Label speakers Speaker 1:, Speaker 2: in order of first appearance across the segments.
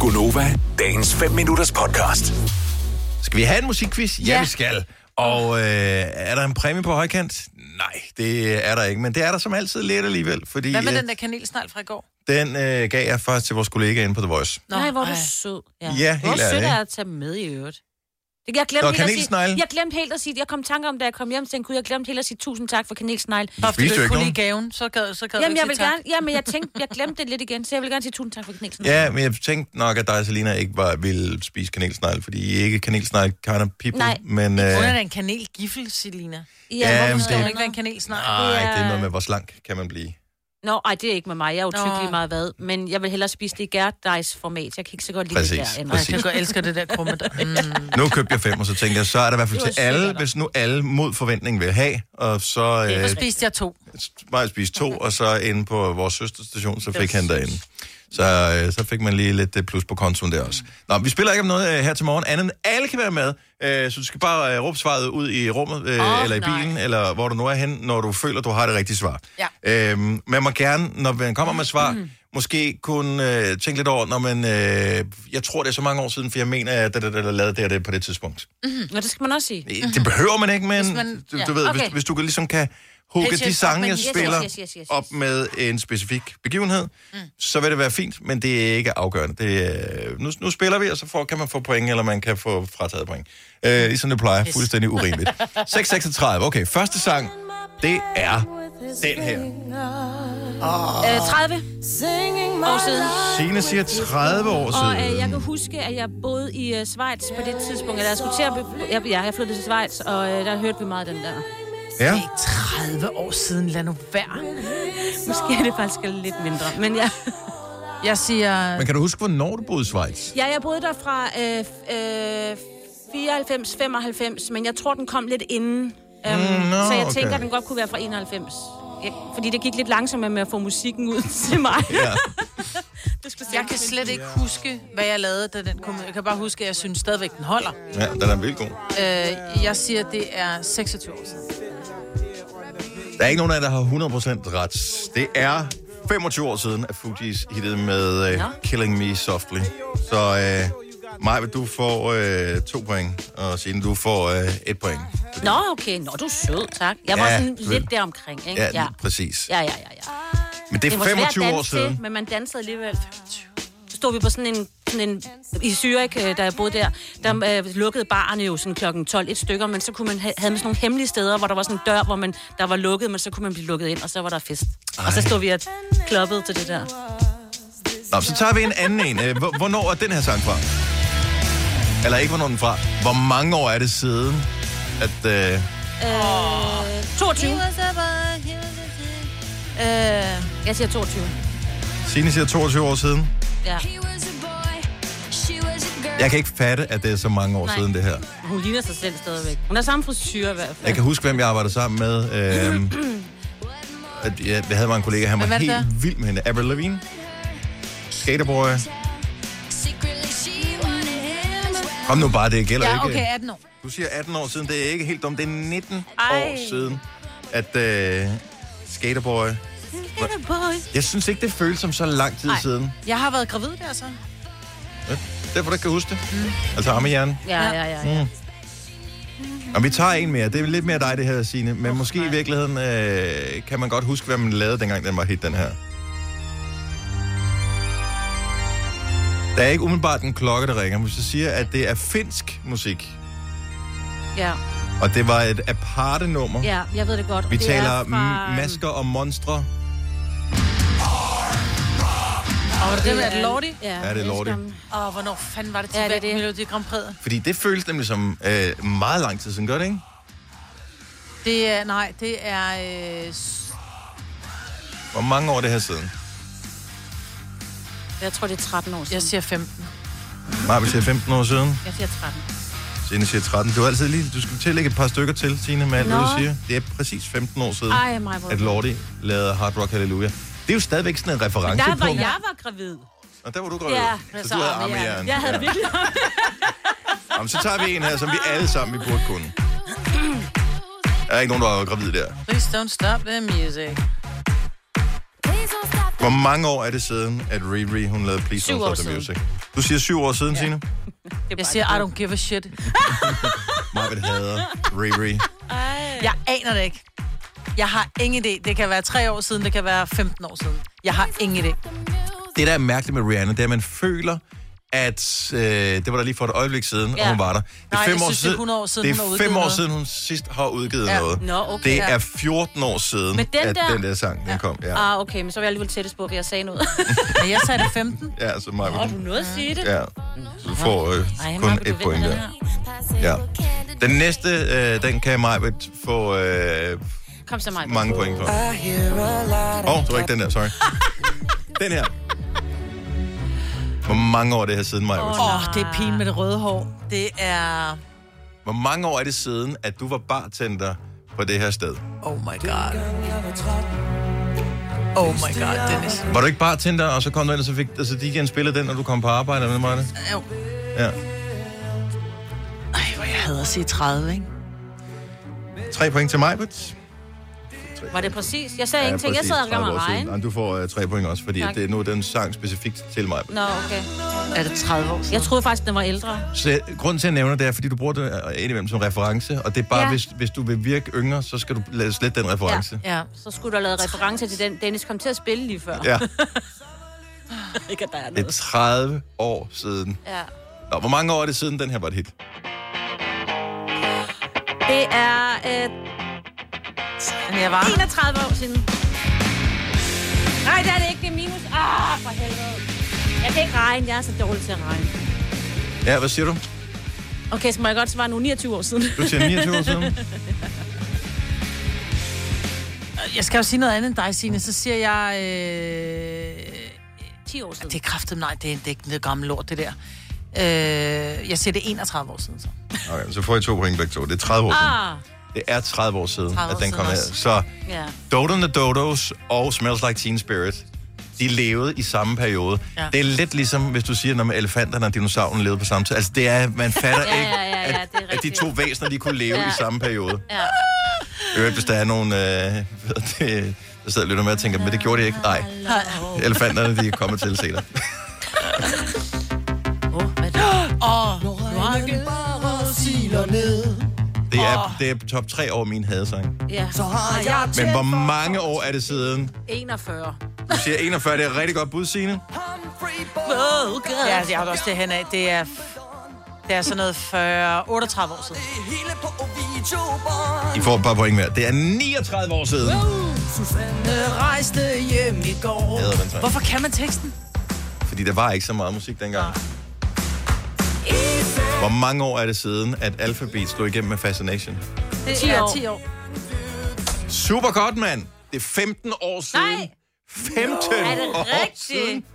Speaker 1: Gunova, dagens 5 minutters podcast.
Speaker 2: Skal vi have en musikquiz? Ja,
Speaker 3: Ja.
Speaker 2: vi skal. Og øh, er der en præmie på højkant? Nej, det er der ikke, men det er der som altid lidt alligevel, fordi
Speaker 3: Hvad med
Speaker 2: øh,
Speaker 3: den der kanelsnegl fra i går?
Speaker 2: den øh, gav jeg først til vores kollega inde på The Voice.
Speaker 3: Nå,
Speaker 4: Nej, hvor er du
Speaker 3: ej.
Speaker 4: sød.
Speaker 2: Ja, helt
Speaker 4: hvor
Speaker 2: ærligt,
Speaker 4: sødt
Speaker 2: ikke?
Speaker 4: er at tage dem med i øvrigt. Det, jeg, glemte
Speaker 2: Nå,
Speaker 4: helt at
Speaker 2: kanelsnegle.
Speaker 4: sige, jeg glemte helt at sige det. Jeg kom i tanke om, da jeg kom hjem, tænkte, gud, jeg glemte helt at sige tusind tak for kanelsnegle.
Speaker 3: Bare fordi
Speaker 2: spiste
Speaker 3: du
Speaker 2: jo
Speaker 3: ikke
Speaker 2: ikke
Speaker 3: kunne
Speaker 2: nogen.
Speaker 3: lide gaven, så gad, så gad
Speaker 4: Jamen,
Speaker 3: du
Speaker 4: jeg
Speaker 3: ikke
Speaker 4: vil
Speaker 3: sige
Speaker 4: gerne, jamen, jeg tænkte, jeg glemte det lidt igen, så jeg vil gerne sige tusind tak for kanelsnegle.
Speaker 2: Ja, men jeg tænkte nok, at dig og Selina ikke var, ville spise kanelsnegl, fordi I er ikke kanelsnegl kind of people.
Speaker 4: Nej.
Speaker 2: men,
Speaker 3: tak.
Speaker 2: øh,
Speaker 3: Hun er da en kanelgiffel, Selina.
Speaker 2: Ja, Ah.
Speaker 4: hvorfor
Speaker 2: men
Speaker 4: står
Speaker 3: Det
Speaker 2: det-
Speaker 3: er
Speaker 4: der
Speaker 3: ikke være en
Speaker 4: noget?
Speaker 3: kanelsnegl.
Speaker 2: Nej, det er
Speaker 4: Ja.
Speaker 2: noget med, hvor slank kan man blive.
Speaker 4: Nå, ej, det er ikke med mig. Jeg er jo
Speaker 3: Nå.
Speaker 4: tykkelig meget hvad. Men jeg vil hellere spise det i gærdejsformat. Jeg kan ikke så godt lide
Speaker 2: Præcis,
Speaker 4: det der. end-
Speaker 3: Nej,
Speaker 2: præcis.
Speaker 3: jeg kan godt elsker det der krumme der. Mm.
Speaker 2: Nu købte jeg fem, og så tænkte jeg, så er der i hvert fald
Speaker 4: Det
Speaker 2: til
Speaker 4: var
Speaker 2: alle,
Speaker 4: sikkert.
Speaker 2: hvis nu alle mod forventning vil have, og så
Speaker 3: Så
Speaker 2: øh,
Speaker 3: spiste jeg to.
Speaker 2: bare spise to, og så inde på vores søsterstation, så fik han derinde. Så, øh, så fik man lige lidt øh, plus på kontoen der også. Nå, vi spiller ikke om noget øh, her til morgen, andet end alle kan være med, øh, så du skal bare øh, råbe svaret ud i rummet, øh,
Speaker 4: Åh,
Speaker 2: eller i bilen,
Speaker 4: nej.
Speaker 2: eller hvor du nu er hen, når du føler, du har det rigtige svar. Ja. Øhm, man må gerne, når man kommer med svar, mm. måske kunne øh, tænke lidt over, når man, øh, jeg tror, det er så mange år siden, for jeg mener, at jeg lavede det og det på det tidspunkt.
Speaker 4: Nå, det skal man også sige.
Speaker 2: Det behøver man ikke, men
Speaker 3: Hvis man-
Speaker 2: du,
Speaker 3: ja,
Speaker 2: du ved, okay. hvis,
Speaker 4: okay.
Speaker 2: hvis du kan ligesom kan hugge
Speaker 3: Pitch
Speaker 2: de
Speaker 3: it op
Speaker 2: sange,
Speaker 3: med
Speaker 2: jeg
Speaker 3: en-
Speaker 4: yes,
Speaker 2: spiller,
Speaker 4: yes, yes, Mm. yes, yes.
Speaker 2: op med en specifik begivenhed, så vil det være fint, men det er ikke afgørende. Det er, nu, nu spiller vi, og så får, kan man få point, eller man kan få frataget point.
Speaker 4: Mm.
Speaker 2: Øh, ligesom det plejer, fuldstændig urimeligt. 6.36, okay, første sang, det er den her.
Speaker 4: Øh, 30 år siden.
Speaker 2: Signe siger 30 år
Speaker 4: Og øh, jeg
Speaker 2: siden.
Speaker 4: kan huske, at jeg boede i øh, Schweiz på det tidspunkt. Eller jeg skulle til at... Be- jeg, ja, jeg flyttede til Schweiz, og øh, der hørte vi meget af den der.
Speaker 2: Ja,
Speaker 3: Det er 30 år siden, lad nu være.
Speaker 4: Måske er det faktisk lidt mindre. Men ja,
Speaker 3: Jeg siger...
Speaker 2: men kan du huske, hvornår du boede i Schweiz?
Speaker 4: ja jeg boede der fra øh, øh, 94-95, men jeg tror, den kom lidt inden. Um, mm,
Speaker 2: nå,
Speaker 4: så jeg tænker,
Speaker 2: okay.
Speaker 4: at den godt kunne være fra 91. Ja, fordi det gik lidt langsommere med at få musikken ud til mig.
Speaker 2: Ja.
Speaker 4: det skulle
Speaker 3: Jeg kan slet ikke huske, hvad jeg lavede, da den kom. Jeg kan bare huske, at jeg synes stadigvæk, den holder.
Speaker 2: Ja, den er vildt god.
Speaker 3: Øh, jeg siger, det er 26 år siden.
Speaker 2: Der er ikke nogen af jer, der har 100% ret. Det er 25 år siden, at Fugees hittede med uh, Killing Me Softly. Så uh, Maja, du får uh, to point, og Signe, du får uh, et point.
Speaker 4: Nå, okay. Nå, du er sød, tak. Jeg var
Speaker 2: Ja,
Speaker 4: ja, sådan
Speaker 2: vel.
Speaker 4: lidt deromkring, ikke?
Speaker 2: Ja, ja. præcis.
Speaker 4: Ja, ja, ja, ja.
Speaker 2: Men det er
Speaker 4: var svært at
Speaker 2: 25 år
Speaker 4: danse til,
Speaker 2: siden.
Speaker 4: men man dansede alligevel. Så stod vi på sådan en, sådan en i Zürich, øh, da jeg boede der, der øh, lukkede barerne jo sådan klokken 12 et stykker, men så kunne man ha- havde man sådan nogle hemmelige steder, hvor der var sådan en dør, hvor man, der var lukket, men så kunne man blive lukket ind, og så var der fest. Ej. Og så
Speaker 2: Ej.
Speaker 4: stod vi og kloppede til det der.
Speaker 2: Nå, så tager vi en anden en. Øh, hvor- Hvornår er den her sang fra? Eller ikke, hvornår er den fra. Hvor mange år er det siden, at... Uh,
Speaker 4: 22.
Speaker 3: Øh,
Speaker 4: Jeg siger 22.
Speaker 2: Signe siger 22 år siden.
Speaker 4: Ja.
Speaker 2: Jeg kan ikke fatte, at det er så mange år Nej.
Speaker 4: Nej.
Speaker 2: siden, det her.
Speaker 4: Hun ligner sig selv stadigvæk. Hun har samme frisyr i hvert fald.
Speaker 2: Jeg kan huske, hvem jeg arbejdede sammen med. Øhm, at jeg, jeg havde mig en kollega, han var
Speaker 3: Hvem var det
Speaker 2: helt
Speaker 3: der?
Speaker 2: vild med hende. Avril Lavigne. Skaterboy. Kom nu bare, det gælder
Speaker 3: ja,
Speaker 2: ikke.
Speaker 3: okay, 18 år.
Speaker 2: Du siger 18 år siden, det er ikke helt dumt. Det er 19 Ej.
Speaker 4: Ej.
Speaker 2: år siden, at øh, Skaterboy... Jeg synes ikke, det føles som så lang tid Ej. siden.
Speaker 3: Jeg har været gravid der, så.
Speaker 2: Derfor du ikke kan huske det. Mm. Altså armehjernen.
Speaker 4: Ja, ja, ja. ja.
Speaker 2: Og vi tager en mere. Det er lidt mere dig, det her, Signe. Men oh, måske nej. i virkeligheden øh, kan man godt huske, hvad man lavede, dengang den var hit, den her. Der er ikke umiddelbart en klokke, der ringer, men hvis jeg siger, at det er finsk musik,
Speaker 4: ja.
Speaker 2: og det var et aparte nummer.
Speaker 4: ja jeg ved det godt.
Speaker 2: Vi
Speaker 4: det er
Speaker 2: taler
Speaker 4: fra- øhm,
Speaker 2: m- masker og monstre.
Speaker 3: Og var det det med at Lordi?
Speaker 2: Ja, det er Lordi.
Speaker 4: elsker ham.
Speaker 3: Og hvornår fanden var det
Speaker 4: Ja,
Speaker 3: til
Speaker 4: det er
Speaker 3: ja,
Speaker 4: det.
Speaker 3: Melodi Grand Prix?
Speaker 2: Fordi det føles nemlig som øh, meget lang tid siden, gør det ikke?
Speaker 3: Det er, nej, det er... Øh, s-
Speaker 2: Hvor mange år er det her siden?
Speaker 4: Jeg tror, det er 13 år siden.
Speaker 3: jeg siger 15.
Speaker 2: Maja, vi siger 15 år siden.
Speaker 4: Jeg siger 13.
Speaker 2: Signe siger 13. Du, er altid lige, du skal tillægge et par stykker til, Signe, med alt, hvad
Speaker 4: Nå.
Speaker 2: du siger. Det er præcis 15 år siden.
Speaker 4: Ej, mig, hvor...
Speaker 2: at Lordi lavede Hard Rock Hallelujah. Det er jo stadigvæk sådan en reference
Speaker 4: Der var
Speaker 2: på.
Speaker 4: jeg var gravid.
Speaker 2: Og der var du grøn.
Speaker 4: Ja,
Speaker 2: Øh,
Speaker 4: altså,
Speaker 2: så
Speaker 3: så
Speaker 2: du havde
Speaker 3: arme i
Speaker 2: arme i
Speaker 3: hjernen.
Speaker 2: hjernen.
Speaker 4: Jeg havde virkelig...
Speaker 2: Jamen, så tager vi en her, som vi alle sammen vi burde kunne. Der er ikke nogen, der er gravid der.
Speaker 3: Please don't stop the music.
Speaker 2: Hvor Hvor mange år er det siden, at Riri, hun lavede Please
Speaker 4: Syv
Speaker 2: Don't
Speaker 4: år
Speaker 2: Stop the
Speaker 4: siden.
Speaker 2: Music? Du siger syv år siden, ja. Signe?
Speaker 4: Det
Speaker 3: Jeg siger, I don't give a shit.
Speaker 2: Marvind hader Riri.
Speaker 3: Jeg aner det ikke. Jeg har ingen idé. Det kan være 3 år siden, det kan være 15 år siden. Jeg har ingen idé.
Speaker 2: Det, der er mærkeligt med Rihanna, det er, at man føler, at øh, det var der lige for et øjeblik siden, ja.
Speaker 4: Ja.
Speaker 2: og hun var der. Det
Speaker 3: Nej, jeg synes, det er 100 år siden,
Speaker 2: det er
Speaker 3: hun har
Speaker 2: fem
Speaker 3: udgivet
Speaker 2: år
Speaker 3: noget.
Speaker 2: siden, hun sidst har udgivet
Speaker 3: Ja.
Speaker 2: noget.
Speaker 4: Nå, okay.
Speaker 2: det
Speaker 4: Ja.
Speaker 2: er 14 år siden,
Speaker 4: Men den
Speaker 2: at
Speaker 4: der-
Speaker 2: den der sang den kom. Ja,
Speaker 4: Ah, okay, men så var jeg alligevel tættest på, at jeg sagde noget.
Speaker 3: Men jeg sagde det 15.
Speaker 2: ja så
Speaker 4: Åh,
Speaker 2: meget.
Speaker 4: du nåede at sige det.
Speaker 2: Ja. Så du får øh,
Speaker 4: Ej,
Speaker 2: kun
Speaker 4: Maja, vil
Speaker 2: et
Speaker 4: du
Speaker 2: point
Speaker 4: vinde
Speaker 2: der.
Speaker 4: den her?
Speaker 2: Ja. Den næste, øh, den kan mig få øh,
Speaker 4: Kom så, mig.
Speaker 2: mange point for. Åh, oh, det var ikke den der, sorry. den her. Hvor mange år er det her siden, Maja?
Speaker 3: Åh, oh, det er pigen med det røde hår. Det er...
Speaker 2: Hvor mange år er det siden, at du var bartender på det her sted?
Speaker 3: Oh my god. Oh my god, Dennis.
Speaker 2: Var du ikke bartender, og så kom du ind, og så fik altså, de igen spillet den, når du kom på arbejde? Eller hvad var det?
Speaker 3: Jo.
Speaker 2: Ja.
Speaker 3: Ej, hvor jeg hader at sige 30, ikke?
Speaker 2: Tre point til mig, but...
Speaker 4: Var det præcis? Jeg sagde ja, ingenting. Jeg sad og gav mig regn.
Speaker 2: Nej, du får uh, tre point også, fordi
Speaker 4: Tak.
Speaker 2: det er nu den sang specifikt til mig.
Speaker 4: Nå, okay.
Speaker 3: Er det 30 år siden?
Speaker 4: Jeg troede faktisk, den var ældre.
Speaker 2: Så øh, grunden til, at jeg nævner det, er, fordi du bruger det øh, indimellem som reference, og det er bare, ja.
Speaker 4: Ja.
Speaker 2: hvis, hvis du vil virke yngre, så skal du lade slet den reference.
Speaker 3: Ja.
Speaker 4: Så skulle du have lavet referencer til den, Dennis kom til at spille lige før.
Speaker 2: Ja.
Speaker 4: Ikke, at der er
Speaker 2: Det er
Speaker 4: noget.
Speaker 2: 30 år siden.
Speaker 4: Ja.
Speaker 2: Nå, hvor mange år er det siden, den her var et hit?
Speaker 4: Det er øh,
Speaker 3: Men jeg var...
Speaker 4: 31 år siden. Nej, det er det ikke. Det er minus. Ah, for helvede. Jeg kan ikke regne. Jeg er så dårlig til at regne.
Speaker 2: Ja, hvad siger du?
Speaker 4: Okay, så må jeg godt svare nu 29 år siden.
Speaker 2: Du siger 29 år siden?
Speaker 3: Jeg skal jo sige noget andet end dig, Signe. Så siger jeg... Øh...
Speaker 4: 10 år siden.
Speaker 3: Det er kraftigt, nej, det er, det er ikke noget gammelt lort, det der. Øh, jeg siger, det er 31 år siden, så.
Speaker 2: Okay, så får jeg to point begge to. Det er 30 år siden.
Speaker 4: Ah,
Speaker 2: Det er 30 år siden,
Speaker 3: 30
Speaker 2: at
Speaker 3: år
Speaker 2: den
Speaker 3: siden
Speaker 2: kom her.
Speaker 3: også.
Speaker 2: Så
Speaker 4: ja.
Speaker 2: Dodo and the Dodos og Smells Like Teen Spirit, de levede i samme periode. Ja.
Speaker 3: Ja.
Speaker 2: Det er lidt ligesom, hvis du siger, at elefanterne og dinosaurerne levede på samme tid. Altså, det er, man fatter
Speaker 4: Ja,
Speaker 2: ikke,
Speaker 4: ja, ja, ja,
Speaker 2: at,
Speaker 4: det er
Speaker 2: at de
Speaker 4: rigtigt.
Speaker 2: to væsener, de kunne leve ja.
Speaker 4: Ja.
Speaker 2: i samme periode.
Speaker 4: Ja.
Speaker 2: I Øvrigt, hvis der er nogen, øh, hvad hedder det, der sidder og lytter med og tænker, men det gjorde de ikke. Nej, elefanterne, de er kommet til senere.
Speaker 4: Oh, hvad er det?
Speaker 2: Det er, det er top tre over min hadesang.
Speaker 4: Ja.
Speaker 2: Men hvor mange år er det siden?
Speaker 4: 41.
Speaker 2: Du siger 41, det er et rigtig godt bud, Signe.
Speaker 4: Oh, God.
Speaker 3: Ja, altså, jeg har også det henad. Det er, det er sådan noget 40, 38 år siden.
Speaker 2: I får et par point hver. Det er 39 år siden.
Speaker 3: Rejste hjem i går.
Speaker 2: Hader den sang.
Speaker 3: Hvorfor kan man teksten?
Speaker 2: Fordi der var ikke så meget musik dengang.
Speaker 4: Ah.
Speaker 2: Hvor mange år er det siden, at Alphabet slog igennem med Fascination?
Speaker 4: Det er
Speaker 3: 10 år.
Speaker 4: 10
Speaker 3: 10
Speaker 4: år.
Speaker 3: år.
Speaker 2: Super godt, mand! Det er 15 år siden.
Speaker 4: Nej.
Speaker 2: 15
Speaker 4: Er det
Speaker 2: år siden.
Speaker 4: rigtigt?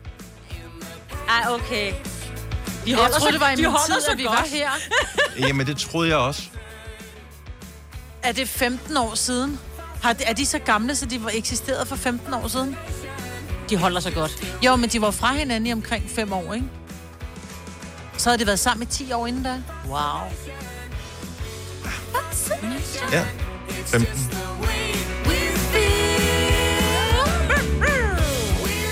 Speaker 4: Ej, okay. De
Speaker 3: Jeg troede, det var i
Speaker 4: de
Speaker 3: min
Speaker 4: holder
Speaker 3: tid,
Speaker 4: sig
Speaker 3: at vi
Speaker 4: godt.
Speaker 3: var her.
Speaker 2: Jamen, det troede jeg også.
Speaker 3: Er det 15 år siden? Har de, er de så gamle, så de var eksisteret for 15 år siden?
Speaker 4: De holder sig godt.
Speaker 3: Jo, men de var fra hinanden i omkring 5 år, ikke? Så havde de været sammen i 10 år inden da. Wow.
Speaker 2: Ja. 15.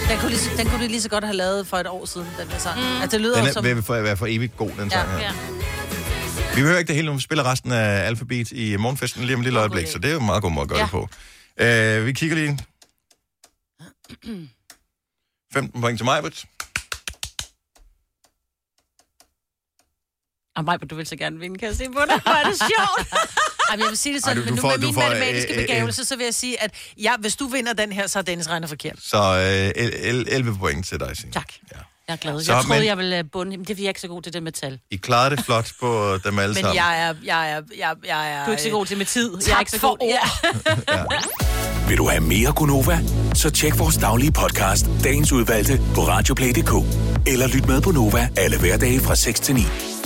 Speaker 3: Den kunne, lige, så- den kunne de lige så godt have lavet for et år siden, den der sang. Mm. Altså, det lyder
Speaker 2: Den
Speaker 3: jo
Speaker 2: er,
Speaker 3: som...
Speaker 2: vil for, være for evigt god, den sang her.
Speaker 4: Ja.
Speaker 2: Vi behøver ikke det hele, nu. vi spiller resten af Alphabet i morgenfesten lige om et lille øjeblik, så det er jo en meget god måde at gøre ja.
Speaker 4: Ja.
Speaker 2: det på. Øh, vi kigger lige. 15 point til Majbert.
Speaker 4: Og Maja, du vil så gerne vinde, kan jeg se på dig. Hvor er det sjovt.
Speaker 3: Ej, men jeg vil sige det
Speaker 2: Ej,
Speaker 3: sådan,
Speaker 2: du-
Speaker 3: Ej,
Speaker 2: du
Speaker 3: du, men nu
Speaker 2: får-
Speaker 3: får,
Speaker 2: du får,
Speaker 3: med min
Speaker 2: øh,
Speaker 3: matematiske
Speaker 2: øh, øh,
Speaker 3: begævelse, så vil jeg sige, at ja, hvis du vinder den her, så er Dennis regner forkert.
Speaker 2: Så øh, el- el- 11 point til dig, Signe.
Speaker 4: Tak.
Speaker 2: Ja.
Speaker 4: Jeg er glad.
Speaker 2: Så,
Speaker 4: jeg troede,
Speaker 2: men-
Speaker 4: jeg ville øh, bunde. Men det er fordi, jeg er ikke så god til det med tal.
Speaker 2: I klarede det flot på øh, dem alle
Speaker 3: Men
Speaker 2: sammen.
Speaker 3: jeg er, jeg er, jeg, jeg er...
Speaker 4: Du er ikke så god til med tid.
Speaker 3: Tak
Speaker 4: jeg er ikke så
Speaker 3: for
Speaker 4: god.
Speaker 3: ord.
Speaker 4: Ja.
Speaker 1: Vil du have mere Gunova? Så tjek vores daglige podcast, dagens udvalgte, på radioplay.dk. Eller lyt med på Nova alle hverdage fra 6 til 9.